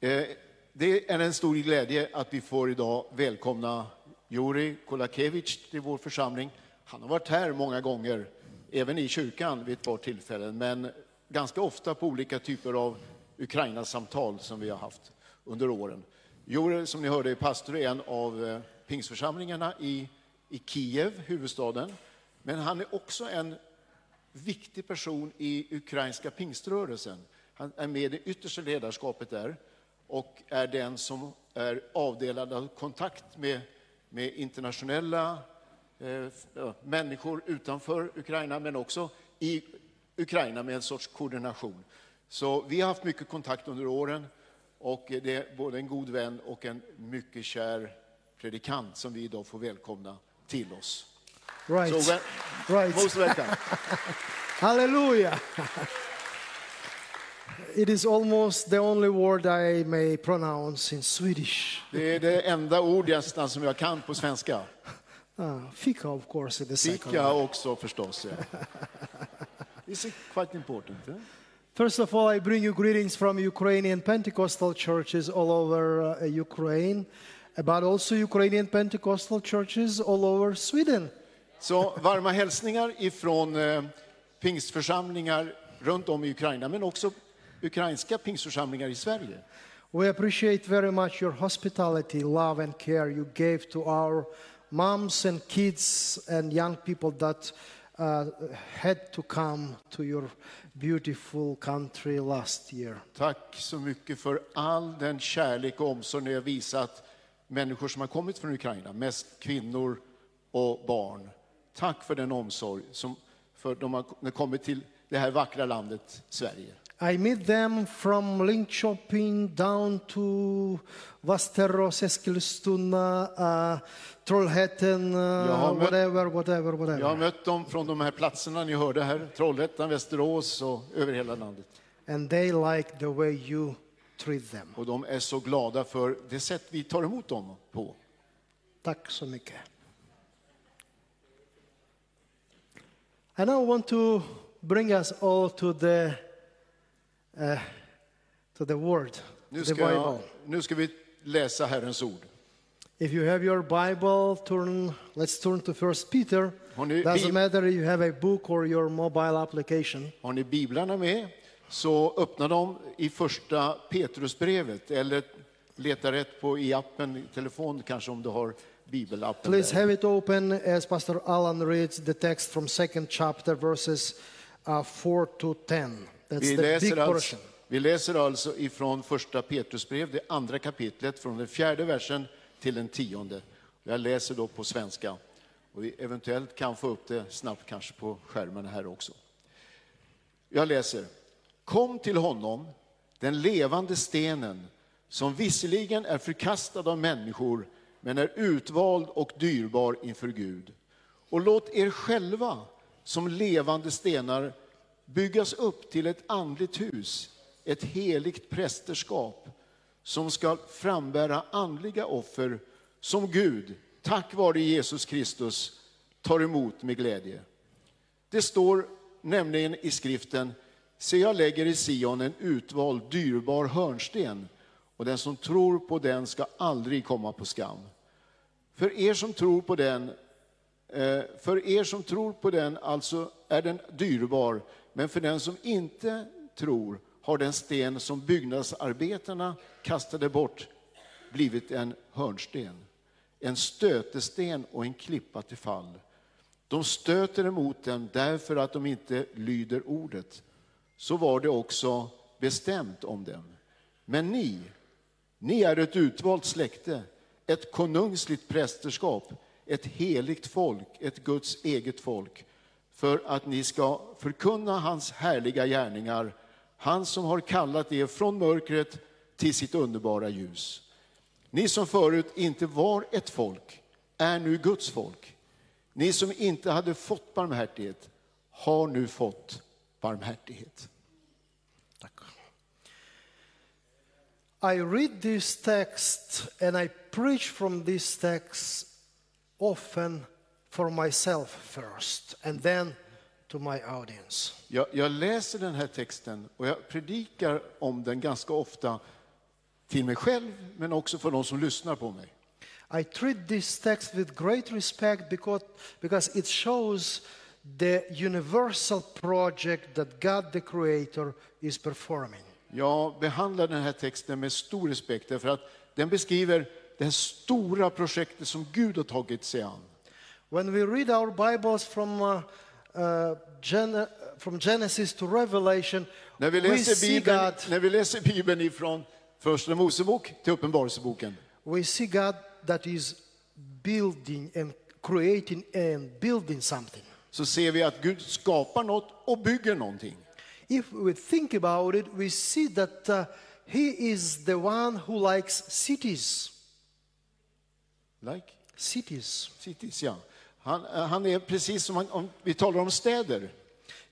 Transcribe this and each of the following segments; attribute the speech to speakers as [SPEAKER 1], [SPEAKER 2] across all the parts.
[SPEAKER 1] Eh, Det är en stor glädje att vi får idag välkomna Juri Kolakevich till vår församling. Han har varit här många gånger, även i kyrkan vid ett par tillfällen, men ganska ofta på olika typer av Ukraina-samtal som vi har haft under åren. Juri, som ni hörde, är pastor i en av eh, pingstförsamlingarna i, i Kiev, huvudstaden, men han är också en viktig person i ukrainska pingströrelsen. Han är med i det yttersta ledarskapet där och är den som är avdelad av kontakt med, med internationella eh, f- ja, människor utanför Ukraina, men också i Ukraina med en sorts koordination. Så vi har haft mycket kontakt under åren och det är både en god vän och en mycket kär predikant som vi idag får välkomna till oss.
[SPEAKER 2] Right.
[SPEAKER 1] So, well,
[SPEAKER 2] right.
[SPEAKER 1] Most welcome.
[SPEAKER 2] Hallelujah. It is almost the only word I may pronounce in Swedish.
[SPEAKER 1] Det är det enda ord nästan som jag kan på svenska.
[SPEAKER 2] Ah, fika, of course, is the second.
[SPEAKER 1] Fika också förstås. Ja. It's quite important. Eh?
[SPEAKER 2] First of all, I bring you greetings from Ukrainian Pentecostal churches all over uh, Ukraine, but also Ukrainian Pentecostal churches all over Sweden.
[SPEAKER 1] Så varma hälsningar ifrån eh, pingstförsamlingar runt om i Ukraina, men också ukrainska pingstförsamlingar i Sverige.
[SPEAKER 2] We appreciate very much your hospitality, love, and care you gave to our moms and kids and young people that uh, had to come to your beautiful country last year.
[SPEAKER 1] Tack så mycket för all den kärlek och omsorg ni har visat människor som har kommit från Ukraina, mest kvinnor och barn. Tack för den omsorg som för de har kommit till det här vackra landet Sverige.
[SPEAKER 2] I meet them from Linköping down to Västerås, Eskilstuna, uh, Trollhättan, uh,
[SPEAKER 1] Ja, men-
[SPEAKER 2] whatever, whatever, whatever.
[SPEAKER 1] Jag har mött dem från de här platserna ni hörde här, Trollhättan, Västerås och över hela landet.
[SPEAKER 2] And they like the way you treat them.
[SPEAKER 1] Och de är så glada för det sätt vi tar emot dem på.
[SPEAKER 2] Tack så mycket. I now want to bring us all to the eh, to the word,
[SPEAKER 1] Nu
[SPEAKER 2] the
[SPEAKER 1] ska,
[SPEAKER 2] Bible.
[SPEAKER 1] jag, nu ska vi läsa Herrens ord.
[SPEAKER 2] If you have your Bible, turn. Let's turn to First Peter.
[SPEAKER 1] Har ni
[SPEAKER 2] Doesn't
[SPEAKER 1] Bib-
[SPEAKER 2] matter if you have a book or your mobile application.
[SPEAKER 1] Har ni biblarna med så öppna dem i första Petrusbrevet eller leta rätt på i appen, i telefon kanske om du har bibelappen.
[SPEAKER 2] Please
[SPEAKER 1] Där.
[SPEAKER 2] have it open as Pastor Alan reads the text from second chapter, verses uh, four to ten. That's
[SPEAKER 1] Vi
[SPEAKER 2] the
[SPEAKER 1] läser,
[SPEAKER 2] big
[SPEAKER 1] alltså,
[SPEAKER 2] portion.
[SPEAKER 1] vi läser alltså ifrån första Petrusbrev, det andra kapitlet, från den fjärde versen till den tionde. Jag läser då på svenska. Och vi eventuellt kan få upp det snabbt kanske på skärmen här också. Jag läser. Kom till honom, den levande stenen, som visserligen är förkastad av människor, men är utvald och dyrbar inför Gud. Och låt er själva som levande stenar byggas upp till ett andligt hus, ett heligt prästerskap, som ska frambära andliga offer som Gud, tack vare Jesus Kristus, tar emot med glädje. Det står nämligen i skriften, se jag lägger i Sion en utvald, dyrbar hörnsten och den som tror på den ska aldrig komma på skam. För er som tror på den, eh, för er som tror på den alltså är den dyrbar, men för den som inte tror har den sten som byggnadsarbetarna kastade bort blivit en hörnsten, en stötesten och en klippa till fall. De stöter emot den därför att de inte lyder ordet. Så var det också bestämt om dem. Men ni, ni är ett utvalt släkte, ett konungsligt prästerskap, ett heligt folk, ett Guds eget folk, för att ni ska förkunna hans härliga gärningar, han som har kallat er från mörkret till sitt underbara ljus. Ni som förut inte var ett folk är nu Guds folk. Ni som inte hade fått barmhärtighet har nu fått barmhärtighet.
[SPEAKER 2] I read this text and I preach from this text often for myself first and then to my audience.
[SPEAKER 1] Jag, jag läser den här texten och jag predikar om den ganska ofta till mig själv, men också för de som lyssnar på mig.
[SPEAKER 2] I treat this text with great respect because, because it shows the universal project that God the Creator is performing.
[SPEAKER 1] Jag behandlar den här texten med stor respekt därför att den beskriver det här stora projektet som Gud har tagit sig an.
[SPEAKER 2] When we read our Bibles from, uh, uh, Gen- from Genesis to Revelation,
[SPEAKER 1] När vi
[SPEAKER 2] we
[SPEAKER 1] läser
[SPEAKER 2] see
[SPEAKER 1] Bibeln,
[SPEAKER 2] God,
[SPEAKER 1] när vi läser Bibeln ifrån Första Mosebok till Uppenbarelseboken
[SPEAKER 2] we see God that is building and creating and building something.
[SPEAKER 1] så ser vi att Gud skapar något och bygger någonting.
[SPEAKER 2] If we think about it, we see that uh, He is the one who likes cities.
[SPEAKER 1] Like
[SPEAKER 2] Cities.
[SPEAKER 1] cities, ja. Han, eh, han är precis som han, om vi talar om städer.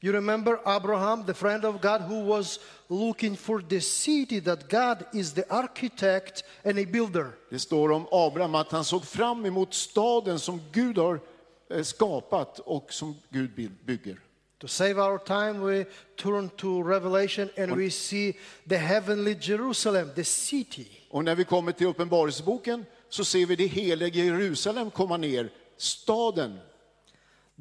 [SPEAKER 2] You remember Abraham, the friend of God, who was looking for the city that God is the architect and a builder.
[SPEAKER 1] Det står om Abraham att han såg fram emot staden som Gud har eh, skapat och som Gud by- bygger.
[SPEAKER 2] To save our time, we turn to Revelation and we see the heavenly Jerusalem, the city.
[SPEAKER 1] Och när vi kommer till Uppenbarelseboken så ser vi det heliga Jerusalem komma ner, staden.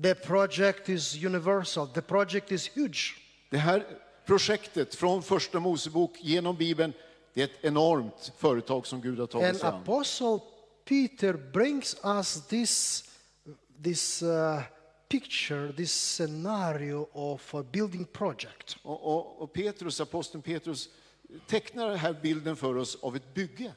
[SPEAKER 2] The project is universal, the project is huge.
[SPEAKER 1] Det här projektet från Första Mosebok genom Bibeln, det är ett enormt företag som Gud har
[SPEAKER 2] And
[SPEAKER 1] tagit sig an.
[SPEAKER 2] Apostle Peter brings us this, this uh, picture, this scenario of a building project.
[SPEAKER 1] Och, och, och Petrus, aposteln Petrus tecknar den här bilden för oss av ett bygge.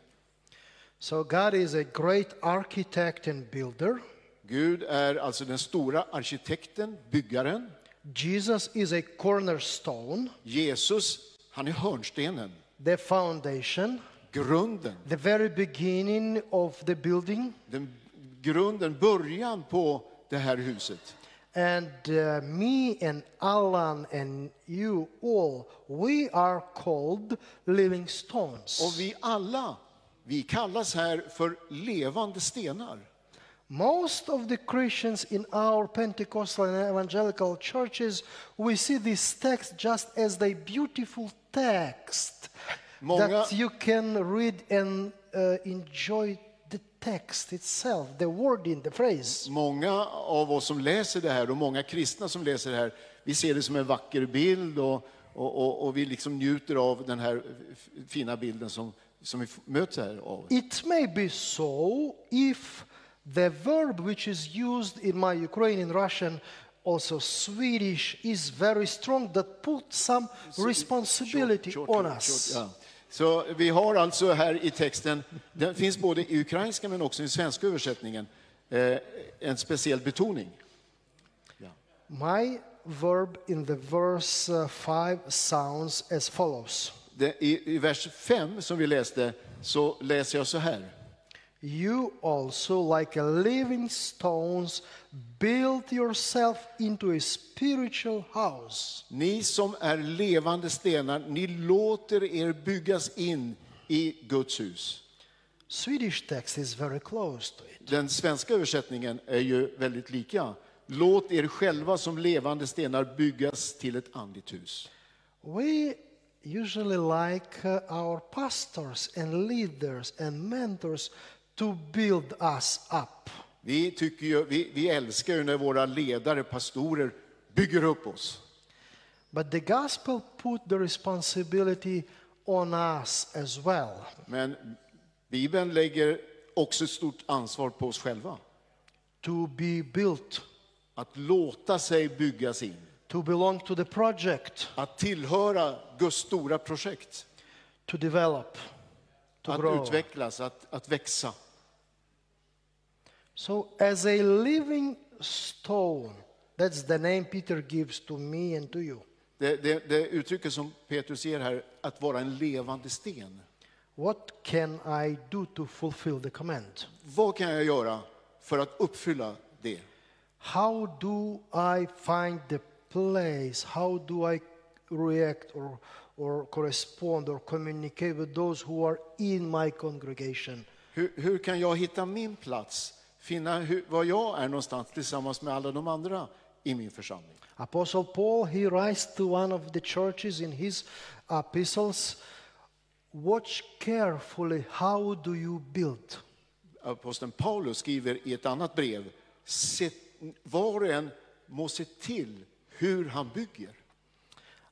[SPEAKER 2] So God is a great architect and builder.
[SPEAKER 1] Gud är alltså den stora arkitekten, byggaren.
[SPEAKER 2] Jesus is a cornerstone,
[SPEAKER 1] Jesus, han är hörnstenen,
[SPEAKER 2] the foundation,
[SPEAKER 1] grunden.
[SPEAKER 2] the very beginning of the building,
[SPEAKER 1] Den, grunden, början på det här huset.
[SPEAKER 2] and uh, me and Alan and you all, we are called living stones.
[SPEAKER 1] Och vi alla, vi kallas här för levande stenar.
[SPEAKER 2] Most of the Christians in our Pentecostal and evangelical churches, we see this text just as the beautiful text
[SPEAKER 1] Många-
[SPEAKER 2] that you can read and uh, enjoy the text itself, the wording, the phrase.
[SPEAKER 1] Många av oss som läser det här och många kristna som läser det här, vi ser det som en vacker bild och, och, och, och vi liksom njuter av den här f- fina bilden som, som vi f- möts här av.
[SPEAKER 2] It may be so if the verb which is used in my Ukrainian Russian, also Swedish, is very strong that puts some responsibility
[SPEAKER 1] Short-
[SPEAKER 2] on
[SPEAKER 1] short-
[SPEAKER 2] us.
[SPEAKER 1] short, ja. Så vi har alltså här i texten, den finns både i ukrainska men också i svenska översättningen, eh, en speciell betoning.
[SPEAKER 2] My verb in the verse uh, 5 sounds as follows
[SPEAKER 1] Det, i, I vers 5 som vi läste så läser jag så här.
[SPEAKER 2] You also, like a living stones, build yourself into a spiritual house.
[SPEAKER 1] Ni som är levande stenar, ni låter er byggas in i Guds hus.
[SPEAKER 2] Swedish text is very close to it.
[SPEAKER 1] Den svenska översättningen är ju väldigt lika. Låt er själva som levande stenar byggas till ett andligt hus.
[SPEAKER 2] We usually like uh, our pastors and leaders and mentors to build us up.
[SPEAKER 1] Vi, tycker ju, vi, vi älskar ju när våra ledare, pastorer, bygger upp oss.
[SPEAKER 2] But the gospel put the responsibility on us as well.
[SPEAKER 1] Men Bibeln lägger också ett stort ansvar på oss själva.
[SPEAKER 2] to be built,
[SPEAKER 1] Att låta sig byggas in.
[SPEAKER 2] to belong to the project,
[SPEAKER 1] Att tillhöra Guds stora projekt.
[SPEAKER 2] to develop, to
[SPEAKER 1] Att
[SPEAKER 2] grow.
[SPEAKER 1] utvecklas, att, att växa.
[SPEAKER 2] So, as a living stone, that's the name Peter gives to me and to you.
[SPEAKER 1] Det, det, det uttrycket som Petrus ger här, att vara en levande sten.
[SPEAKER 2] What can I do to fulfill the command?
[SPEAKER 1] Vad kan jag göra för att uppfylla det?
[SPEAKER 2] How do I find the place? How do I react or, or correspond or communicate with those who are in my congregation?
[SPEAKER 1] Hur, hur kan jag hitta min plats? Finna hur, var jag är någonstans tillsammans med alla de andra i min församling.
[SPEAKER 2] Apostle Paul, he writes to one of the churches in his epistles Watch carefully how do you build.
[SPEAKER 1] Aposteln Paulus skriver i ett annat brev, se, var och en må se till hur han bygger.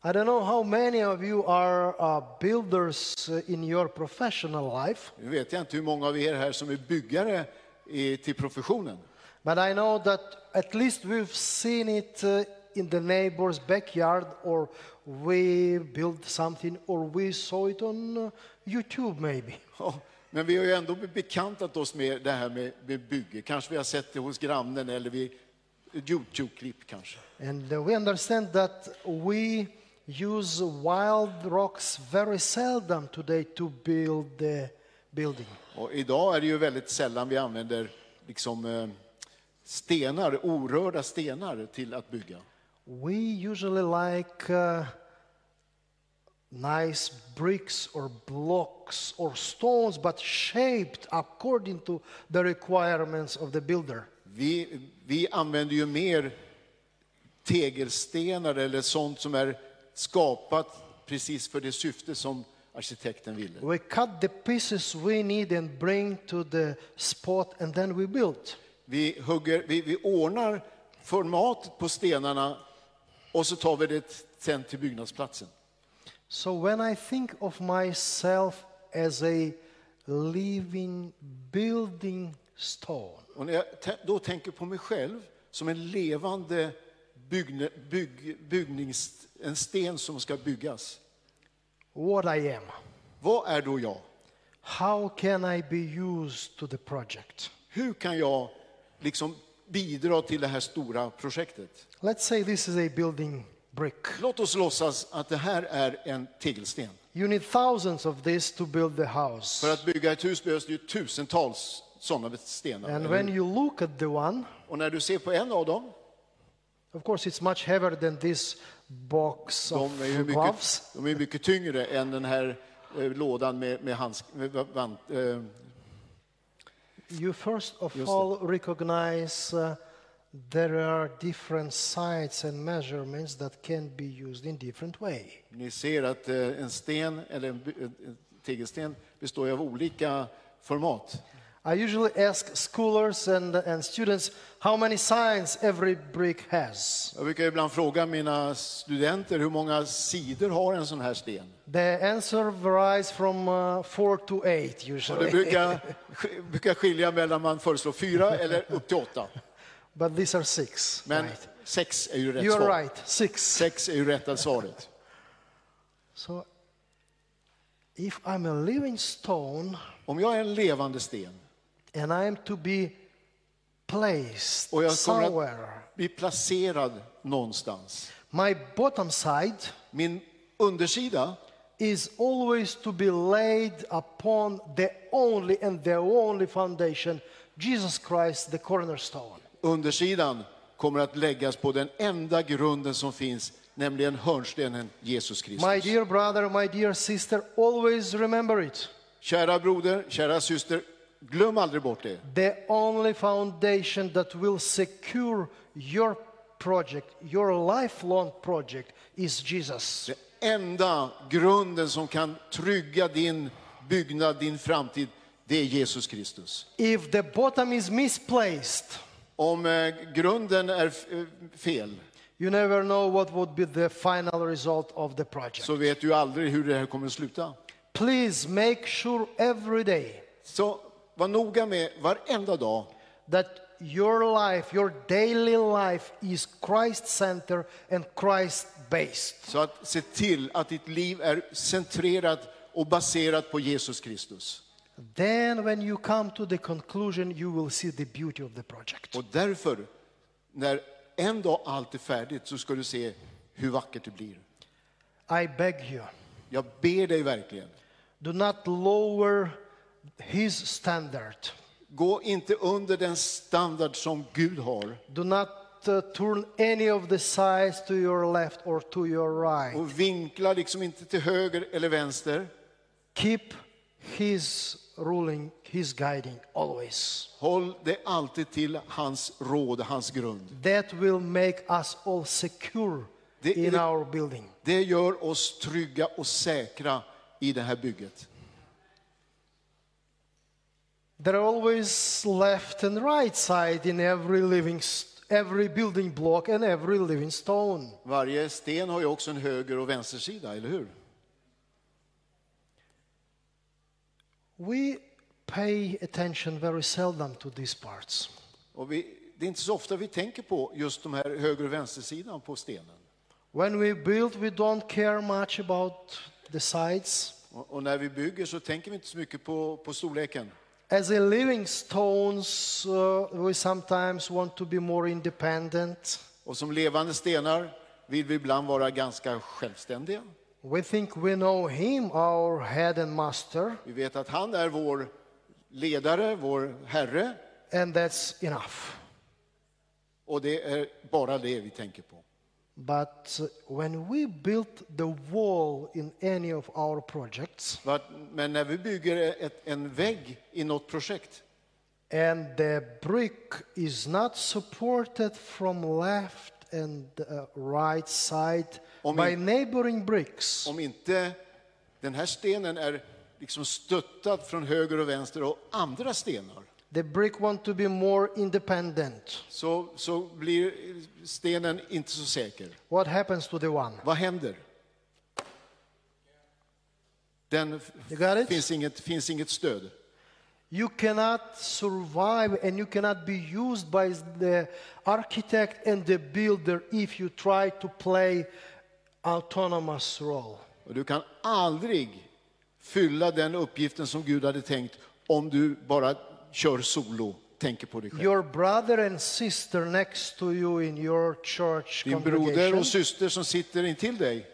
[SPEAKER 2] I don't know how many of you are uh, builders uh, in your professional life,
[SPEAKER 1] Nu vet jag inte hur många av er här som är byggare i, till professionen.
[SPEAKER 2] but I know that at least we've seen it uh, in the neighbor's backyard, or we built something, or we saw it on uh, YouTube maybe.
[SPEAKER 1] Ja, men vi har ju ändå bekantat oss med det här med, med bygge. Kanske vi har sett det hos grannen eller vid ett Youtube-klipp kanske.
[SPEAKER 2] And uh, we understand that we use wild rocks very seldom today to build the building.
[SPEAKER 1] Och idag är det ju väldigt sällan vi använder liksom, eh, stenar, orörda stenar till att bygga.
[SPEAKER 2] We usually like uh, nice bricks or blocks or stones, but shaped according to the requirements of the builder.
[SPEAKER 1] Vi, vi använder ju mer tegelstenar eller sånt som är skapat precis för det syfte som arkitekten ville.
[SPEAKER 2] We cut the pieces we need and bring to the spot, and then we build.
[SPEAKER 1] Vi, hugger, vi, vi ordnar formatet på stenarna och så tar vi det sen till byggnadsplatsen.
[SPEAKER 2] So when I think of myself as a living building stone,
[SPEAKER 1] Och när jag tä- då tänker på mig själv som en levande bygne, bygg, byggnings, en sten som ska byggas.
[SPEAKER 2] what I am,
[SPEAKER 1] Vad är då jag?
[SPEAKER 2] how can I be used to the project?
[SPEAKER 1] Hur kan jag liksom bidra till det här stora projektet?
[SPEAKER 2] Let's say this is a building brick.
[SPEAKER 1] Låt oss låtsas att det här är en tegelsten.
[SPEAKER 2] You need thousands of these to build the house.
[SPEAKER 1] För att bygga ett hus behövs det ju tusentals sådana stenar.
[SPEAKER 2] And
[SPEAKER 1] eller
[SPEAKER 2] when
[SPEAKER 1] hur?
[SPEAKER 2] you look at the one,
[SPEAKER 1] Och när du ser på en av dem,
[SPEAKER 2] of course, it's much heavier than this box of
[SPEAKER 1] de är ju mycket,
[SPEAKER 2] gloves.
[SPEAKER 1] de är mycket tyngre än den här eh, lådan med, med, handsk, med va- van, eh,
[SPEAKER 2] You first of
[SPEAKER 1] Just
[SPEAKER 2] all recognize uh, there are different sides and measurements that can be used in different way.
[SPEAKER 1] Ni ser att eh, en sten eller en, by- en en tegelsten består ju av olika format.
[SPEAKER 2] I usually ask scholars and, and students how many sides every brick has.
[SPEAKER 1] Jag brukar ibland fråga mina studenter hur många sidor har en sån här sten?
[SPEAKER 2] The answer varies from uh, four to eight
[SPEAKER 1] Och det
[SPEAKER 2] usually.
[SPEAKER 1] brukar, sk- brukar skilja mellan man föreslår fyra eller upp till åtta.
[SPEAKER 2] But these are six.
[SPEAKER 1] Men
[SPEAKER 2] right?
[SPEAKER 1] sex är ju rätt
[SPEAKER 2] You're
[SPEAKER 1] svar.
[SPEAKER 2] right, six.
[SPEAKER 1] Sex är ju rätta svaret.
[SPEAKER 2] So if I'm a living stone
[SPEAKER 1] Om jag är en levande sten
[SPEAKER 2] and I am to be placed
[SPEAKER 1] och jag kommer
[SPEAKER 2] somewhere,
[SPEAKER 1] att bli placerad någonstans.
[SPEAKER 2] my bottom side
[SPEAKER 1] Min undersida
[SPEAKER 2] is always to be laid upon the only and the only foundation, Jesus Christ, the cornerstone.
[SPEAKER 1] undersidan kommer att läggas på den enda grunden som finns, nämligen hörnstenen Jesus
[SPEAKER 2] My
[SPEAKER 1] Kristus.
[SPEAKER 2] dear brother, my dear sister, always remember it.
[SPEAKER 1] Kära broder, kära syster, glöm aldrig bort det.
[SPEAKER 2] The only foundation that will secure your project, your lifelong project, is Jesus.
[SPEAKER 1] Den enda grunden som kan trygga din byggnad, din framtid, det är Jesus Kristus.
[SPEAKER 2] If the bottom is misplaced,
[SPEAKER 1] Om eh, grunden är f- eh, fel
[SPEAKER 2] you never know what would be the final result of the project.
[SPEAKER 1] så vet du aldrig hur det här kommer att sluta.
[SPEAKER 2] Please make sure every day
[SPEAKER 1] Så var noga med varenda dag
[SPEAKER 2] that your life, your daily life, is Christ centered and Christ based.
[SPEAKER 1] så att se till att ditt liv är centrerat och baserat på Jesus Kristus.
[SPEAKER 2] Then, when you come to the conclusion, you will see the beauty of the project.
[SPEAKER 1] Och därför, när en dag allt är färdigt så ska du se hur vackert det blir.
[SPEAKER 2] I beg you.
[SPEAKER 1] Jag ber dig verkligen,
[SPEAKER 2] Do not lower his standard.
[SPEAKER 1] gå inte under den standard som Gud har
[SPEAKER 2] Do not uh, turn any of the sides to your left or to your right.
[SPEAKER 1] och vinkla liksom inte till höger eller vänster.
[SPEAKER 2] Keep his ruling, his guiding always.
[SPEAKER 1] Håll dig alltid till hans råd, hans grund.
[SPEAKER 2] That will make us all secure
[SPEAKER 1] The-
[SPEAKER 2] in
[SPEAKER 1] the-
[SPEAKER 2] our building.
[SPEAKER 1] Det gör oss trygga och säkra i det här bygget.
[SPEAKER 2] There are always left and right side in every living, st- every building block and every living stone.
[SPEAKER 1] Varje sten har ju också en höger och vänstersida, eller hur?
[SPEAKER 2] We pay attention very seldom to these parts.
[SPEAKER 1] Och vi, det är inte så ofta vi tänker på just de här höger och vänstersidan på stenen.
[SPEAKER 2] When we build, we don't care much about the sides.
[SPEAKER 1] Och, och när vi bygger så tänker vi inte så mycket på, på storleken.
[SPEAKER 2] As a living stones, uh, we sometimes want to be more independent.
[SPEAKER 1] Och som levande stenar vill vi ibland vara ganska självständiga.
[SPEAKER 2] We think we know him, our head and master,
[SPEAKER 1] Vi vet att han är vår ledare, vår herre,
[SPEAKER 2] and that's enough.
[SPEAKER 1] och det är bara det vi tänker på.
[SPEAKER 2] But uh, when we build the wall in any of our projects,
[SPEAKER 1] Vart- Men när vi bygger ett, en vägg i något projekt
[SPEAKER 2] and the brick is not supported from left and uh, right side
[SPEAKER 1] Om
[SPEAKER 2] by
[SPEAKER 1] in-
[SPEAKER 2] neighboring bricks,
[SPEAKER 1] om inte den här stenen är liksom stöttad från höger och vänster och andra stenar
[SPEAKER 2] the brick want to be more independent.
[SPEAKER 1] så, så blir stenen inte så säker.
[SPEAKER 2] What happens to the one?
[SPEAKER 1] Vad händer? Den f-
[SPEAKER 2] You got it?
[SPEAKER 1] finns, inget, finns inget stöd.
[SPEAKER 2] You cannot survive and you cannot be used by the architect and the builder if you try to play autonomous role.
[SPEAKER 1] Och du kan aldrig fylla den uppgiften som Gud hade tänkt om du bara kör solo, tänker på dig själv.
[SPEAKER 2] Your brother and sister next to you in your church
[SPEAKER 1] Din broder och
[SPEAKER 2] congregation,
[SPEAKER 1] syster som sitter intill dig,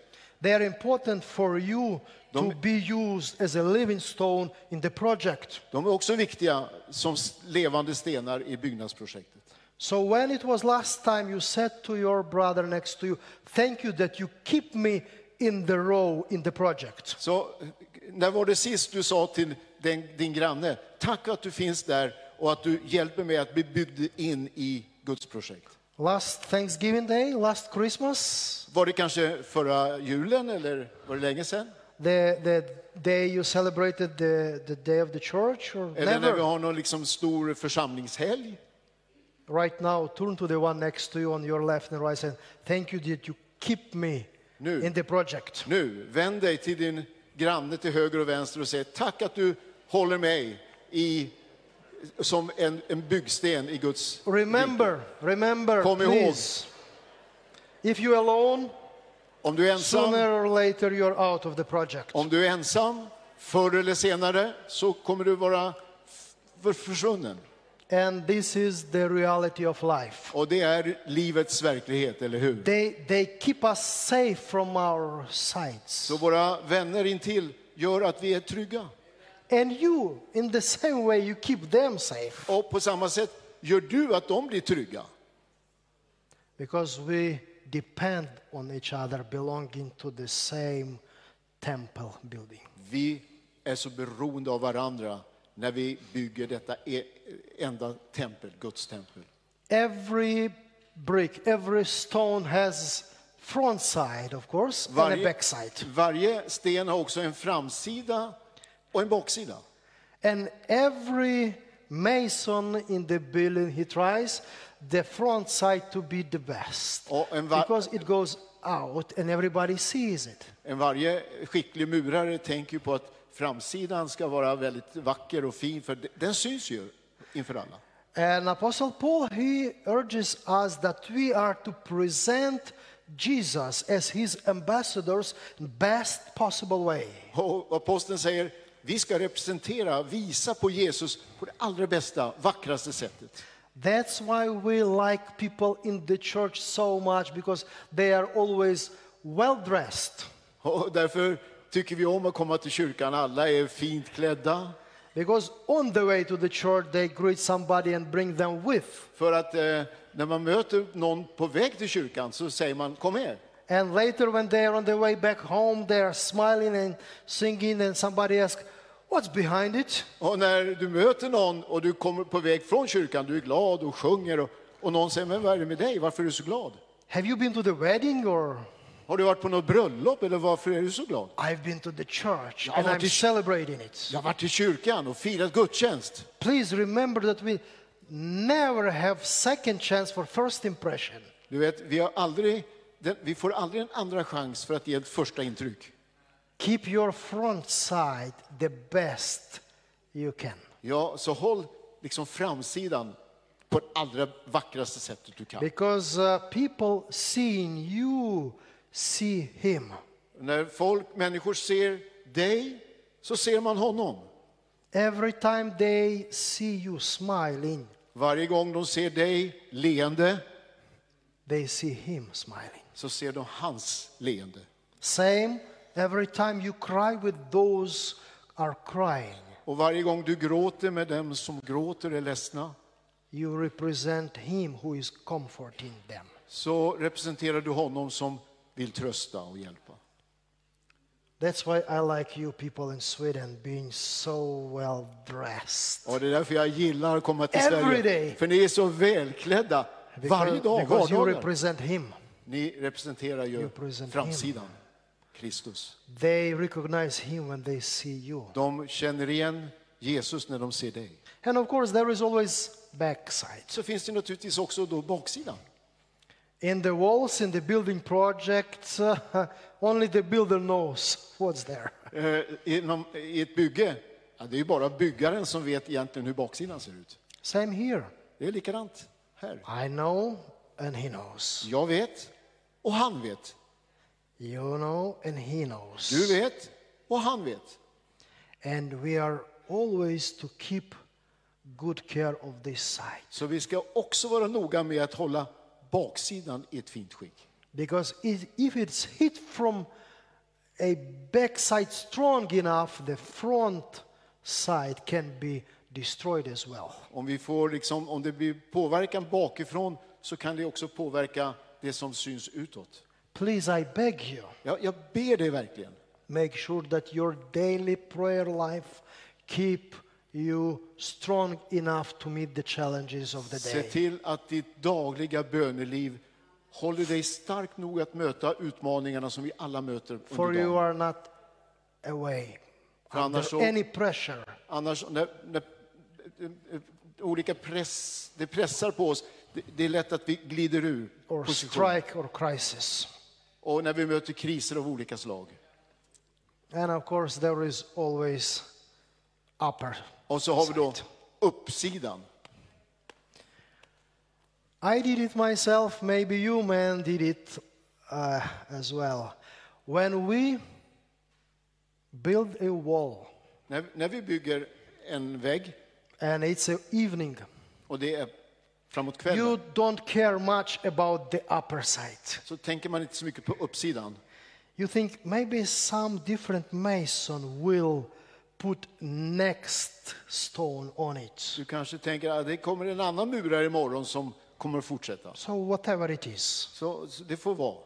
[SPEAKER 2] they are important for you
[SPEAKER 1] De-
[SPEAKER 2] to be used as a living stone in the project.
[SPEAKER 1] de är också viktiga som s- levande stenar i byggnadsprojektet.
[SPEAKER 2] So when it was last time you said to your brother next to you, thank you that you keep me in the row in the project.
[SPEAKER 1] Så eh, när var det sist du sa till den, din granne, tack att du finns där och att du hjälper mig att bli byggd in i Guds projekt?
[SPEAKER 2] Last Thanksgiving Day, last Christmas,
[SPEAKER 1] Var det kanske förra julen eller var det länge sedan?
[SPEAKER 2] the, the day you celebrated the, the day of the church, or
[SPEAKER 1] Eller när vi
[SPEAKER 2] never.
[SPEAKER 1] har någon liksom stor församlingshelg?
[SPEAKER 2] Right now, turn to the one next to you on your left and right and thank you that you keep me
[SPEAKER 1] Nu.
[SPEAKER 2] in the project.
[SPEAKER 1] Nu, vänd dig till din granne till höger och vänster och säg tack att du håller mig i, som en, en byggsten i Guds
[SPEAKER 2] Remember, remember,
[SPEAKER 1] Kom ihåg.
[SPEAKER 2] please. If you're alone,
[SPEAKER 1] Om du är ensam,
[SPEAKER 2] sooner or later you're out of the project.
[SPEAKER 1] om du är ensam förr eller senare så kommer du vara f- för- försvunnen.
[SPEAKER 2] And this is the reality of life.
[SPEAKER 1] Och det är livets verklighet, eller hur?
[SPEAKER 2] They, they keep us safe from our sights.
[SPEAKER 1] Så våra vänner intill gör att vi är trygga.
[SPEAKER 2] And you, in the same way, you keep them safe
[SPEAKER 1] Och på samma sätt gör du att de blir trygga.
[SPEAKER 2] because we depend on each other, belonging to the same temple building.
[SPEAKER 1] Vi är så beroende av varandra när vi bygger detta e- enda tempel, Guds tempel.
[SPEAKER 2] Every brick, every stone has front side, of course, and a back side.
[SPEAKER 1] varje sten har också en framsida och en baksida.
[SPEAKER 2] And every mason in the building he tries the front side to be the best
[SPEAKER 1] Och en, va-
[SPEAKER 2] because it goes out and everybody sees it.
[SPEAKER 1] en varje skicklig murare tänker ju på att framsidan ska vara väldigt vacker och fin, för de- den syns ju inför alla.
[SPEAKER 2] And Apostle Paul, he urges us that we are to present Jesus as his ambassadors in best possible way.
[SPEAKER 1] Och aposteln säger, vi ska representera, visa på Jesus på det allra bästa, vackraste sättet.
[SPEAKER 2] That's why we like people in the church so much because they are always well dressed.
[SPEAKER 1] Och därför tycker vi om att komma till kyrkan, alla är fint klädda.
[SPEAKER 2] Because on the way to the church, they greet somebody and bring them with.
[SPEAKER 1] För att eh, när man möter någon på väg till kyrkan så säger man kom med.
[SPEAKER 2] And later, when they are on the way back home, they are smiling and singing, and somebody asks, What's behind it?
[SPEAKER 1] Och när du möter någon och du kommer på väg från kyrkan, du är glad och sjunger och, och någon säger men vad är det med dig, varför är du så glad?
[SPEAKER 2] Have you been to the wedding? Or
[SPEAKER 1] Har du varit på något bröllop eller varför är du så glad?
[SPEAKER 2] I've been to the church
[SPEAKER 1] Jag har
[SPEAKER 2] and I'm
[SPEAKER 1] varit i-
[SPEAKER 2] celebrating it.
[SPEAKER 1] Jag har varit i kyrkan och firat gudstjänst.
[SPEAKER 2] Please remember that we never have second chance for first impression.
[SPEAKER 1] Du vet, vi, har aldrig, den, vi får aldrig en andra chans för att ge ett första intryck.
[SPEAKER 2] Keep your front side the best you can.
[SPEAKER 1] Ja, så håll liksom framsidan på det allra vackraste sättet du kan.
[SPEAKER 2] Because uh, people seeing you see him.
[SPEAKER 1] När folk, människor ser dig så ser man honom.
[SPEAKER 2] Every time they see you smiling,
[SPEAKER 1] Varje gång de ser dig leende
[SPEAKER 2] they see him smiling.
[SPEAKER 1] så ser de hans leende.
[SPEAKER 2] Same every time you cry with those are crying,
[SPEAKER 1] Och varje gång du gråter med dem som gråter är ledsna
[SPEAKER 2] you represent him who is comforting them.
[SPEAKER 1] så representerar du honom som vill trösta och hjälpa.
[SPEAKER 2] That's why I like you people in Sweden being so well dressed.
[SPEAKER 1] Och det är därför jag gillar att komma till
[SPEAKER 2] Every
[SPEAKER 1] Sverige.
[SPEAKER 2] day.
[SPEAKER 1] För ni är så välklädda varje dag,
[SPEAKER 2] because you
[SPEAKER 1] vardagar.
[SPEAKER 2] represent him.
[SPEAKER 1] Ni representerar ju
[SPEAKER 2] You represent
[SPEAKER 1] framsidan, Kristus.
[SPEAKER 2] They recognize him when they see you.
[SPEAKER 1] De känner igen Jesus när de ser dig.
[SPEAKER 2] And of course, there is always backside.
[SPEAKER 1] Så finns det naturligtvis också då baksidan.
[SPEAKER 2] In the walls, in the building project, only the builder knows what's there.
[SPEAKER 1] Eh, inom, I ett bygge, ja, det är ju bara byggaren som vet egentligen hur baksidan ser ut.
[SPEAKER 2] Same here.
[SPEAKER 1] Det är likadant här.
[SPEAKER 2] I know, and he knows.
[SPEAKER 1] Jag vet och han vet.
[SPEAKER 2] You know, and he knows.
[SPEAKER 1] Du vet och han vet.
[SPEAKER 2] And we are always to keep good care of this side.
[SPEAKER 1] Så vi ska också vara noga med att hålla baksidan i ett fint skick.
[SPEAKER 2] Because it, if it's hit from a backside strong enough, the front side can be destroyed as well.
[SPEAKER 1] Om, vi får liksom, om det blir påverkan bakifrån så kan det också påverka det som syns utåt.
[SPEAKER 2] Please, I beg you,
[SPEAKER 1] Jag, jag ber dig verkligen.
[SPEAKER 2] make sure that your daily prayer life keep you strong enough to meet the challenges of the
[SPEAKER 1] Se
[SPEAKER 2] day.
[SPEAKER 1] till att ditt dagliga böneliv håller dig stark nog att möta utmaningarna som vi alla möter
[SPEAKER 2] For
[SPEAKER 1] under
[SPEAKER 2] you
[SPEAKER 1] dagen.
[SPEAKER 2] are not away
[SPEAKER 1] För annars
[SPEAKER 2] under
[SPEAKER 1] så-
[SPEAKER 2] any pressure.
[SPEAKER 1] Annars, när, när eh, eh, olika press, det pressar på oss, det, det är lätt att vi glider ur
[SPEAKER 2] or
[SPEAKER 1] position.
[SPEAKER 2] strike or crisis.
[SPEAKER 1] Och när vi möter kriser av olika slag.
[SPEAKER 2] And of course, there is always upper.
[SPEAKER 1] Och så har vi då uppsidan.
[SPEAKER 2] I did it myself, maybe you, man, did it uh, as well. When we build a wall
[SPEAKER 1] När, när vi bygger en vägg,
[SPEAKER 2] and it's an evening,
[SPEAKER 1] och det är framåt kvällen,
[SPEAKER 2] you don't care much about the upper side.
[SPEAKER 1] så tänker man inte så mycket på uppsidan.
[SPEAKER 2] You think maybe some different mason will put next stone on it.
[SPEAKER 1] Du kanske tänker att det kommer en annan murare imorgon som kommer att fortsätta.
[SPEAKER 2] So, whatever it is,
[SPEAKER 1] Så, så det får vara.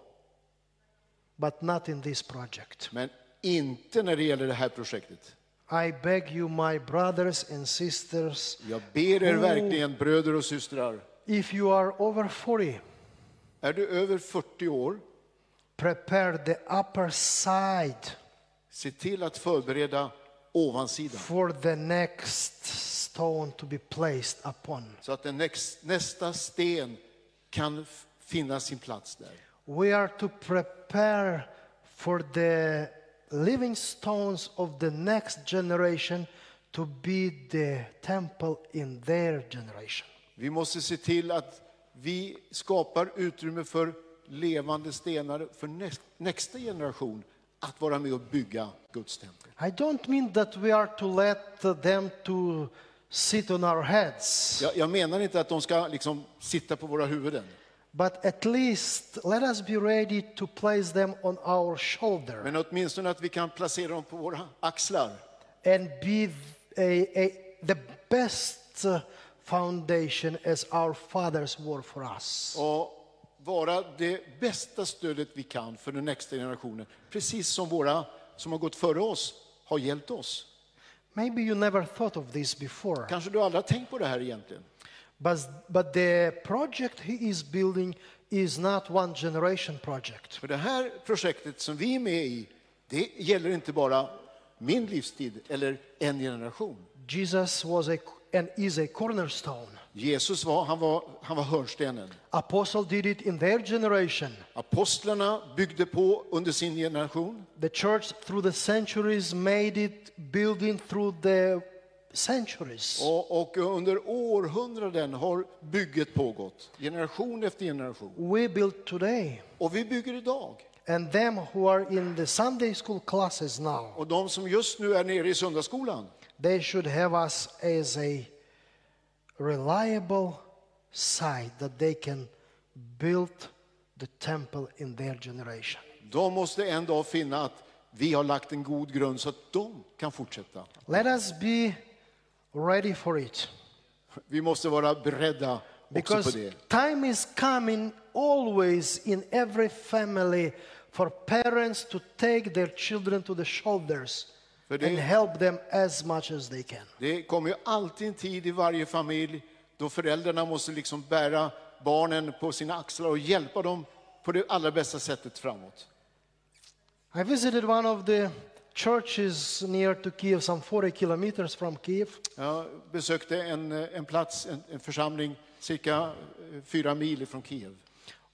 [SPEAKER 2] but not in this project.
[SPEAKER 1] Men inte när det gäller det här projektet.
[SPEAKER 2] I beg you, my brothers and sisters,
[SPEAKER 1] Jag ber er verkligen, bröder och systrar,
[SPEAKER 2] if you are over 40,
[SPEAKER 1] är du över 40 år,
[SPEAKER 2] prepare the upper side
[SPEAKER 1] se till att förbereda ovansidan.
[SPEAKER 2] for the next stone to be placed upon.
[SPEAKER 1] Så att den näx- nästa sten kan f- finna sin plats där.
[SPEAKER 2] We are to prepare for the living stones of the next generation to be the temple in their generation.
[SPEAKER 1] Vi måste se till att vi skapar utrymme för levande stenar för näst- nästa generation att vara med och bygga Guds tempel.
[SPEAKER 2] I don't mean that we are to let them to sit on our heads.
[SPEAKER 1] Jag, jag menar inte att de ska liksom sitta på våra huvuden,
[SPEAKER 2] But at least let us be ready to place them on our shoulder
[SPEAKER 1] men åtminstone att vi kan placera dem på våra axlar
[SPEAKER 2] and be th- a, a, the best uh, foundation as our fathers were for us.
[SPEAKER 1] och vara det bästa stödet vi kan för den nästa generationen, precis som våra som har gått före oss har hjälpt oss.
[SPEAKER 2] Maybe you never thought of this before,
[SPEAKER 1] Kanske du aldrig har tänkt på det här egentligen?
[SPEAKER 2] but, but the project he is building is not one generation project.
[SPEAKER 1] För det här projektet som vi är med i, det gäller inte bara min livstid eller en generation.
[SPEAKER 2] Jesus was a, and is a cornerstone.
[SPEAKER 1] Jesus var, han var, han var hörnstenen.
[SPEAKER 2] Apostle did it in their generation.
[SPEAKER 1] Apostlarna byggde på under sin generation.
[SPEAKER 2] The church through the centuries made it building through the centuries.
[SPEAKER 1] Och, och under århundraden har bygget pågått, generation efter generation.
[SPEAKER 2] We build today.
[SPEAKER 1] Och vi bygger idag.
[SPEAKER 2] And them who are in the Sunday school classes now,
[SPEAKER 1] Och de som just nu är nere i söndagsskolan,
[SPEAKER 2] they should have us as a reliable site that they can build the temple in their generation.
[SPEAKER 1] de måste en dag finna att vi har lagt en god grund så att de kan fortsätta.
[SPEAKER 2] Let us be ready for it.
[SPEAKER 1] Vi måste vara beredda också på
[SPEAKER 2] Because
[SPEAKER 1] det.
[SPEAKER 2] time is coming always in every family for parents to take their children to the shoulders
[SPEAKER 1] För det-
[SPEAKER 2] and help them as much as they can.
[SPEAKER 1] Det kommer ju alltid en tid i varje familj då föräldrarna måste liksom bära barnen på sina axlar och hjälpa dem på det allra bästa sättet framåt.
[SPEAKER 2] I visited one of the churches near to Kiev, some 40 kilometers from Kiev,
[SPEAKER 1] Jag besökte en, en plats, en, en församling, cirka eh, fyra mil från Kiev.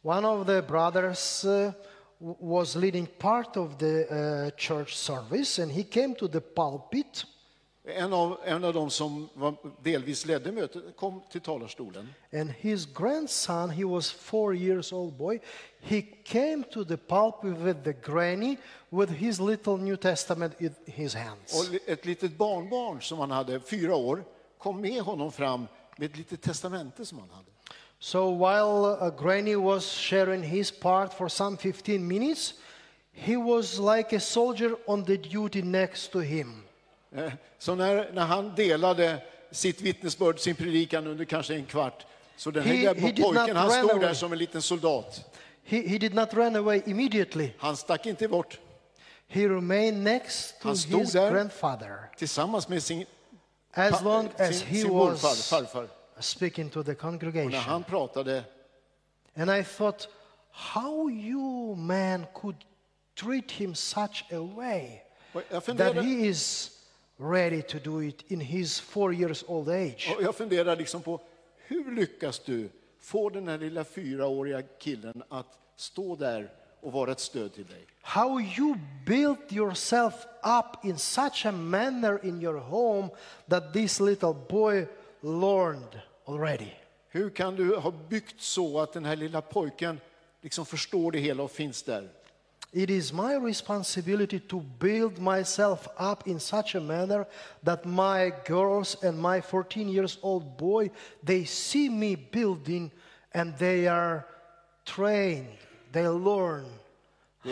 [SPEAKER 2] One of the brothers uh, w- was leading part of the uh, church service and he came to the pulpit
[SPEAKER 1] En av, en av de som var, delvis ledde mötet kom till talarstolen.
[SPEAKER 2] and his grandson, he was four years old boy, he came to the pulpit with the granny with his little New Testament in his hands.
[SPEAKER 1] Och li- ett litet barnbarn som han hade, fyra år, kom med honom fram med ett litet testamente som han hade.
[SPEAKER 2] So while uh, granny was sharing his part for some 15 minutes, he was like a soldier on the duty next to him.
[SPEAKER 1] Eh, Så när, när han delade sitt vittnesbörd, sin predikan under kanske en kvart, så den
[SPEAKER 2] He-
[SPEAKER 1] här
[SPEAKER 2] he did
[SPEAKER 1] he,
[SPEAKER 2] not
[SPEAKER 1] pojken, han
[SPEAKER 2] run
[SPEAKER 1] stod
[SPEAKER 2] away.
[SPEAKER 1] där som en liten soldat.
[SPEAKER 2] He, he did not run away immediately.
[SPEAKER 1] Han stack inte bort.
[SPEAKER 2] He remained next to
[SPEAKER 1] Han stod
[SPEAKER 2] his
[SPEAKER 1] där.
[SPEAKER 2] grandfather
[SPEAKER 1] Tillsammans med sin,
[SPEAKER 2] as
[SPEAKER 1] pa-
[SPEAKER 2] long as
[SPEAKER 1] sin,
[SPEAKER 2] he
[SPEAKER 1] sin morfar,
[SPEAKER 2] was
[SPEAKER 1] farfar.
[SPEAKER 2] speaking to the
[SPEAKER 1] När
[SPEAKER 2] congregation.
[SPEAKER 1] han pratade
[SPEAKER 2] And I thought, how you man could treat him such a way
[SPEAKER 1] Och Jag
[SPEAKER 2] that
[SPEAKER 1] funderar,
[SPEAKER 2] he is ready to do it in his four years old age.
[SPEAKER 1] och jag funderar liksom på hur lyckas du få den här lilla fyraåriga killen att stå där och vara ett stöd till dig?
[SPEAKER 2] How you built yourself up in such a manner in your home that this little boy learned already.
[SPEAKER 1] Hur kan du ha byggt så att den här lilla pojken liksom förstår det hela och finns där?
[SPEAKER 2] It is my responsibility to build myself up in such a manner that my girls and my 14 years old boy they see me building and they are trained they learn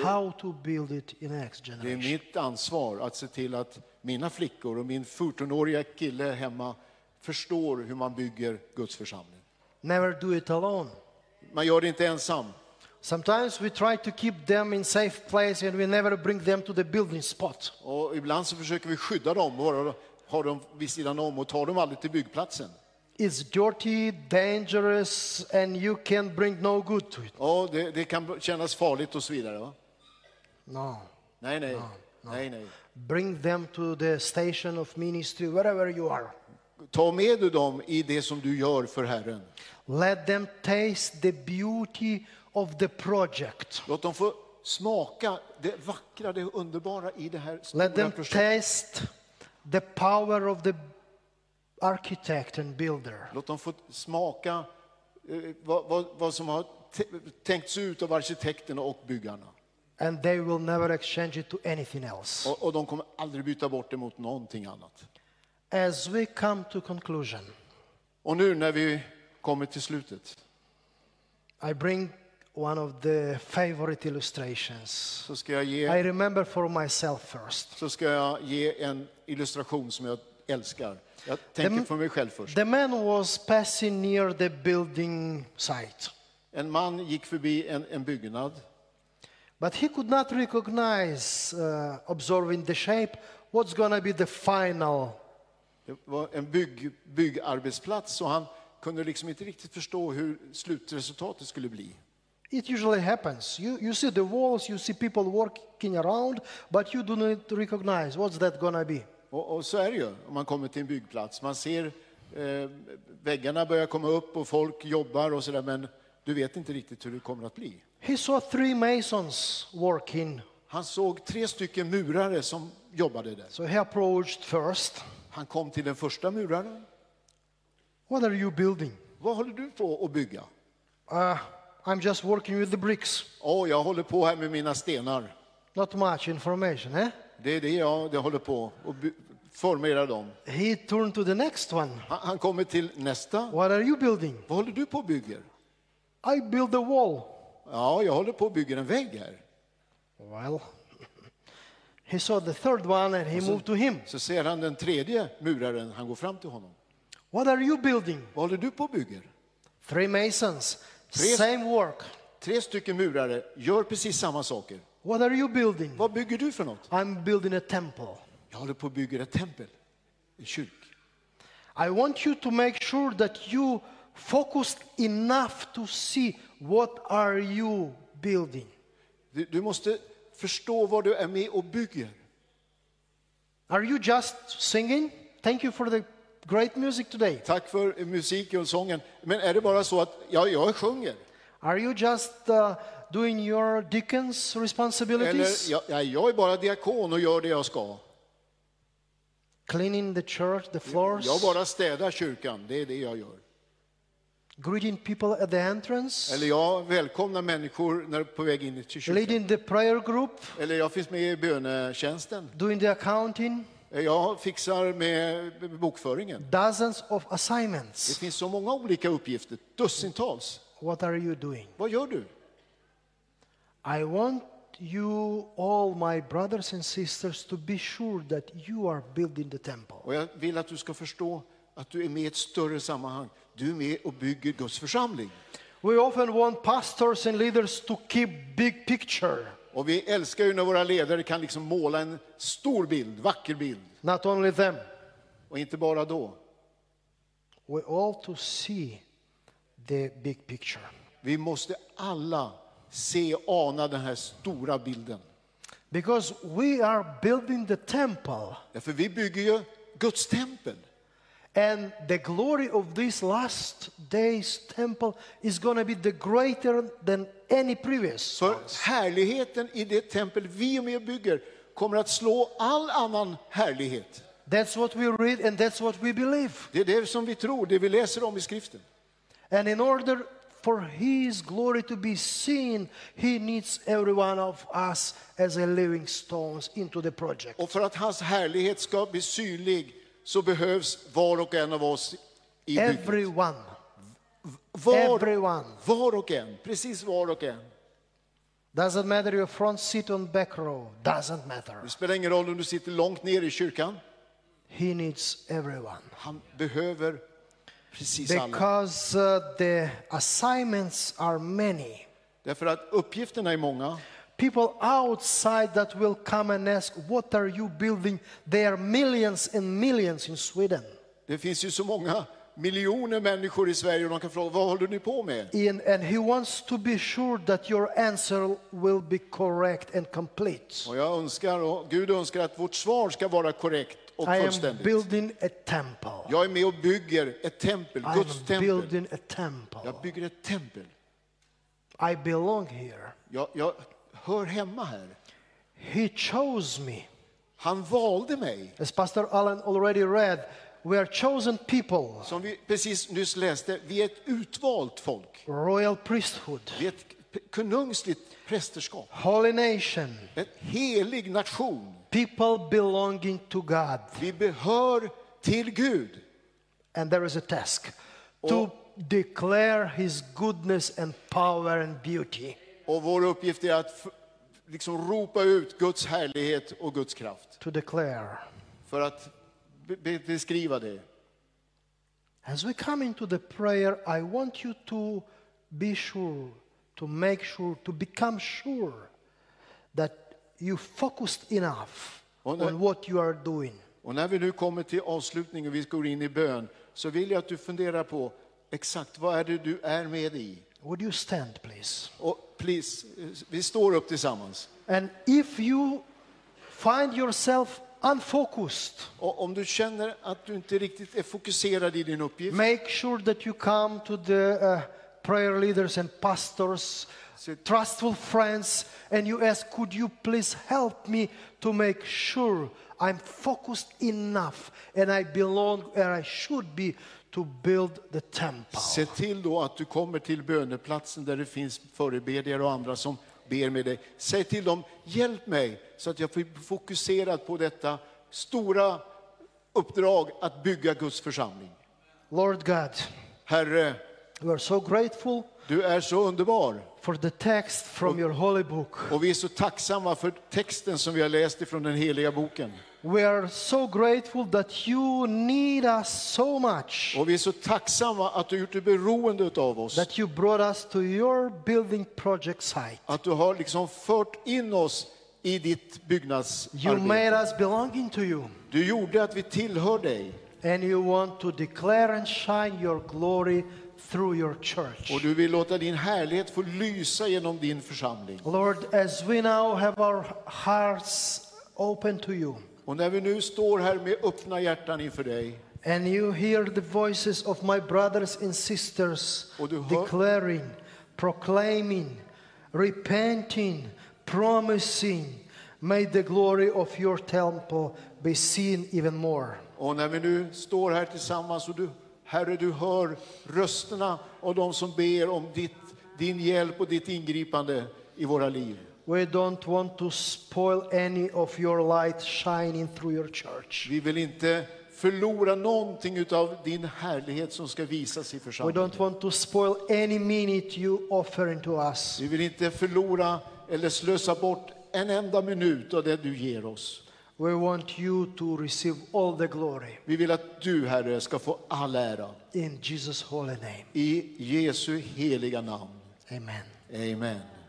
[SPEAKER 2] how to build it in next
[SPEAKER 1] Det är
[SPEAKER 2] generation.
[SPEAKER 1] mitt ansvar att se till att mina flickor och min 14-åriga kille hemma förstår hur man bygger Guds församling.
[SPEAKER 2] Never do it alone.
[SPEAKER 1] Man gör det inte ensam.
[SPEAKER 2] Sometimes we try to keep them in safe place and we never bring them to the building spot.
[SPEAKER 1] Och ibland så försöker vi skydda dem, bara ha dem vid sidan om och tar dem aldrig till byggplatsen.
[SPEAKER 2] It's dirty, dangerous and you can bring no good to it.
[SPEAKER 1] Ja, det, det kan kännas farligt och så vidare. Va?
[SPEAKER 2] No.
[SPEAKER 1] Nej, nej. nej, nej.
[SPEAKER 2] Bring them to the station of ministry, wherever you are.
[SPEAKER 1] Ta med du dem i det som du gör för Herren.
[SPEAKER 2] Let them taste the beauty of the project.
[SPEAKER 1] Låt dem få smaka det vackra, det underbara i det här stora
[SPEAKER 2] Let them
[SPEAKER 1] projektet.
[SPEAKER 2] taste the power of the architect and builder.
[SPEAKER 1] Låt dem få smaka eh, vad, vad, vad som har te- tänkts ut av arkitekterna och byggarna.
[SPEAKER 2] And they will never exchange it to anything else.
[SPEAKER 1] Och, och de kommer aldrig byta bort det mot någonting annat.
[SPEAKER 2] As we come to conclusion,
[SPEAKER 1] Och nu när vi kommer till slutet
[SPEAKER 2] I bring one of the favorite illustrations.
[SPEAKER 1] så ska jag ge,
[SPEAKER 2] I remember for myself first.
[SPEAKER 1] så ska jag ge en illustration som jag älskar. Jag tänker för mig själv först.
[SPEAKER 2] The man was passing near the building site.
[SPEAKER 1] En man gick förbi en, en byggnad,
[SPEAKER 2] But he could not recognize, uh, observing the shape, what's going to be the final.
[SPEAKER 1] det var en bygg, byggarbetsplats, så han kunde liksom inte riktigt förstå hur slutresultatet skulle bli.
[SPEAKER 2] It usually happens. You, you see the walls, you see people walking around, but you do not recognize what's that going to be.
[SPEAKER 1] Och, och så är det ju om man kommer till en byggplats. Man ser eh, väggarna börjar komma upp och folk jobbar och sådär, men du vet inte riktigt hur det kommer att bli.
[SPEAKER 2] He saw three masons working.
[SPEAKER 1] Han såg tre stycken murare som jobbade där.
[SPEAKER 2] So he approached first.
[SPEAKER 1] Han kom till den första muraren.
[SPEAKER 2] What are you building?
[SPEAKER 1] Vad håller du på att bygga?
[SPEAKER 2] Uh, I'm just working with the bricks.
[SPEAKER 1] Åh, jag håller på här med mina stenar.
[SPEAKER 2] Not much information, eh?
[SPEAKER 1] Det är det jag det håller på och by- formera dem.
[SPEAKER 2] He turned to the next one.
[SPEAKER 1] Han, han kommer till nästa.
[SPEAKER 2] What are you building?
[SPEAKER 1] Vad håller du på och bygger?
[SPEAKER 2] I build a wall.
[SPEAKER 1] Ja, jag håller på och bygger en vägg här.
[SPEAKER 2] Well, he saw the third one and he moved to him.
[SPEAKER 1] Så ser han den tredje muraren, han går fram till honom.
[SPEAKER 2] What are you building?
[SPEAKER 1] Vad håller du på och bygger?
[SPEAKER 2] Three masons,
[SPEAKER 1] Three-
[SPEAKER 2] same work.
[SPEAKER 1] Tre stycken murare gör precis samma saker.
[SPEAKER 2] What are you building?
[SPEAKER 1] Vad bygger du för något?
[SPEAKER 2] I'm building a temple.
[SPEAKER 1] Jag håller på och bygger ett tempel, en kyrk.
[SPEAKER 2] I want you to make sure that you focused enough to see what are you building.
[SPEAKER 1] Du, du måste förstå vad du är med och bygger.
[SPEAKER 2] Are you just singing? Thank you for the great music today.
[SPEAKER 1] Tack för eh, musiken och sången. Men är det bara så att ja, jag sjunger?
[SPEAKER 2] Are you just uh, doing your deacon's responsibilities?
[SPEAKER 1] Eller ja, ja, jag är bara diakon och gör det jag ska.
[SPEAKER 2] Cleaning the church, the floors,
[SPEAKER 1] Jag bara städar kyrkan, det är det jag gör.
[SPEAKER 2] greeting people at the entrance,
[SPEAKER 1] Eller jag välkomnar människor när de är på väg in till kyrkan.
[SPEAKER 2] leading the prayer group,
[SPEAKER 1] Eller jag finns med i bönetjänsten.
[SPEAKER 2] doing the accounting,
[SPEAKER 1] Jag fixar med bokföringen.
[SPEAKER 2] dozens of
[SPEAKER 1] Det
[SPEAKER 2] assignments.
[SPEAKER 1] finns så många olika uppgifter, dussintals.
[SPEAKER 2] What are you doing?
[SPEAKER 1] Vad gör du?
[SPEAKER 2] I want you, all my brothers and sisters, to be sure that you are building the temple.
[SPEAKER 1] Och jag vill att du ska förstå att du är med i ett större sammanhang. Du är med och bygger Guds församling.
[SPEAKER 2] We often want pastors and leaders to keep big picture,
[SPEAKER 1] Och vi älskar ju när våra ledare kan liksom måla en stor bild, vacker bild.
[SPEAKER 2] not only them.
[SPEAKER 1] Och inte bara då.
[SPEAKER 2] We all to see the big picture.
[SPEAKER 1] Vi måste alla se, ana den här stora bilden.
[SPEAKER 2] Because we are building the temple,
[SPEAKER 1] Därför vi bygger ju Guds tempel.
[SPEAKER 2] and the glory of this last day's temple is going to be the greater than any previous.
[SPEAKER 1] För härligheten i det tempel vi är med och bygger kommer att slå all annan härlighet.
[SPEAKER 2] That's what we read, and that's what we believe.
[SPEAKER 1] Det är det som vi tror, det vi läser om i skriften.
[SPEAKER 2] And in order for His glory to be seen, He needs every one of us as a living stones into the project.
[SPEAKER 1] Och för att hans härlighet ska bli synlig så behövs var och en av oss i bygget.
[SPEAKER 2] Everyone.
[SPEAKER 1] Var,
[SPEAKER 2] Everyone.
[SPEAKER 1] var och en, precis var och en.
[SPEAKER 2] Doesn't matter your front seat on back row. Doesn't matter.
[SPEAKER 1] Det spelar ingen roll om du sitter långt ner i kyrkan.
[SPEAKER 2] He needs everyone.
[SPEAKER 1] Han behöver precis alla.
[SPEAKER 2] Because uh, the assignments are many.
[SPEAKER 1] Därför att uppgifterna är många.
[SPEAKER 2] People outside that will come and ask, What are you building? There are millions and millions in Sweden.
[SPEAKER 1] Det finns ju så många miljoner människor i Sverige och de kan fråga vad håller ni på med?
[SPEAKER 2] Ian, and he wants to be sure that your answer will be correct and complete.
[SPEAKER 1] Och jag önskar, och Gud önskar att vårt svar ska vara korrekt och
[SPEAKER 2] I am
[SPEAKER 1] fullständigt.
[SPEAKER 2] building a temple.
[SPEAKER 1] Jag är med och bygger ett tempel,
[SPEAKER 2] I am
[SPEAKER 1] Guds tempel.
[SPEAKER 2] building a temple.
[SPEAKER 1] Jag bygger ett tempel.
[SPEAKER 2] I belong here.
[SPEAKER 1] Jag, jag hör hemma här.
[SPEAKER 2] He chose me.
[SPEAKER 1] Han valde mig.
[SPEAKER 2] As Pastor Allen already read, we are chosen people,
[SPEAKER 1] Som vi precis nyss läste, vi är ett utvalt folk.
[SPEAKER 2] royal priesthood,
[SPEAKER 1] Vi är ett p- konungsligt prästerskap.
[SPEAKER 2] holy nation,
[SPEAKER 1] En helig nation.
[SPEAKER 2] people belonging to God.
[SPEAKER 1] Vi behör till Gud.
[SPEAKER 2] And there is a task to declare his goodness and power and beauty.
[SPEAKER 1] Och vår uppgift är att f- liksom ropa ut Guds härlighet och Guds kraft.
[SPEAKER 2] To declare.
[SPEAKER 1] För att be- be- beskriva det.
[SPEAKER 2] As we come into the prayer, I want you to be sure, to make sure, to become sure that you focused enough
[SPEAKER 1] Och när-
[SPEAKER 2] on what you are doing.
[SPEAKER 1] Och när vi nu kommer till avslutningen och vi går in i bön så vill jag att du funderar på exakt vad är det du är med i?
[SPEAKER 2] Would you stand, please?
[SPEAKER 1] Och please, eh, vi står upp tillsammans.
[SPEAKER 2] And if you find yourself unfocused,
[SPEAKER 1] Och om du känner att du inte riktigt är fokuserad i din uppgift,
[SPEAKER 2] make sure that you come to the uh, prayer leaders and pastors, trustful friends, and you ask, Could you please help me to make sure I'm focused enough and I belong where I should be to build the temple?
[SPEAKER 1] se till då att du kommer till böneplatsen där det finns förebedjare och andra som ber med dig. Säg till dem, hjälp mig så att jag blir fokuserad på detta stora uppdrag att bygga Guds församling.
[SPEAKER 2] Lord God,
[SPEAKER 1] Herre,
[SPEAKER 2] we are so grateful
[SPEAKER 1] du är så underbar
[SPEAKER 2] for the text from your holy book.
[SPEAKER 1] och vi är så tacksamma för texten som vi har läst ifrån den heliga boken.
[SPEAKER 2] We are so grateful that you need us so much.
[SPEAKER 1] Och vi är så tacksamma att du har gjort dig beroende av oss.
[SPEAKER 2] that you brought us to your building project site.
[SPEAKER 1] Att du har liksom fört in oss i ditt
[SPEAKER 2] You made
[SPEAKER 1] byggnadsarbete.
[SPEAKER 2] us belonging to you,
[SPEAKER 1] Du gjorde att vi tillhör dig
[SPEAKER 2] and you want to declare and shine your glory through your
[SPEAKER 1] och
[SPEAKER 2] church.
[SPEAKER 1] du vill låta din härlighet få lysa genom din församling.
[SPEAKER 2] Lord, as we now have our hearts open to you,
[SPEAKER 1] Och när vi nu står här med öppna hjärtan inför dig
[SPEAKER 2] and you hear the voices of my brothers and sisters
[SPEAKER 1] Och du hör-
[SPEAKER 2] declaring, proclaiming, repenting, promising, may the glory of your temple be seen even more.
[SPEAKER 1] och när vi nu står här tillsammans och du, Herre, du hör rösterna av de som ber om ditt, din hjälp och ditt ingripande i våra liv.
[SPEAKER 2] We don't want to spoil any of your light shining through your church.
[SPEAKER 1] Vi vill inte förlora någonting av din härlighet som ska visas i
[SPEAKER 2] We
[SPEAKER 1] församlingen.
[SPEAKER 2] don't want to spoil any minute you offering to us.
[SPEAKER 1] Vi vill inte förlora eller slösa bort en enda minut av det du ger oss.
[SPEAKER 2] We want you to receive all the glory
[SPEAKER 1] Vi vill att du, Herre, ska få all ära.
[SPEAKER 2] in Jesus' holy name.
[SPEAKER 1] I Jesu heliga namn.
[SPEAKER 2] Amen.
[SPEAKER 1] Amen.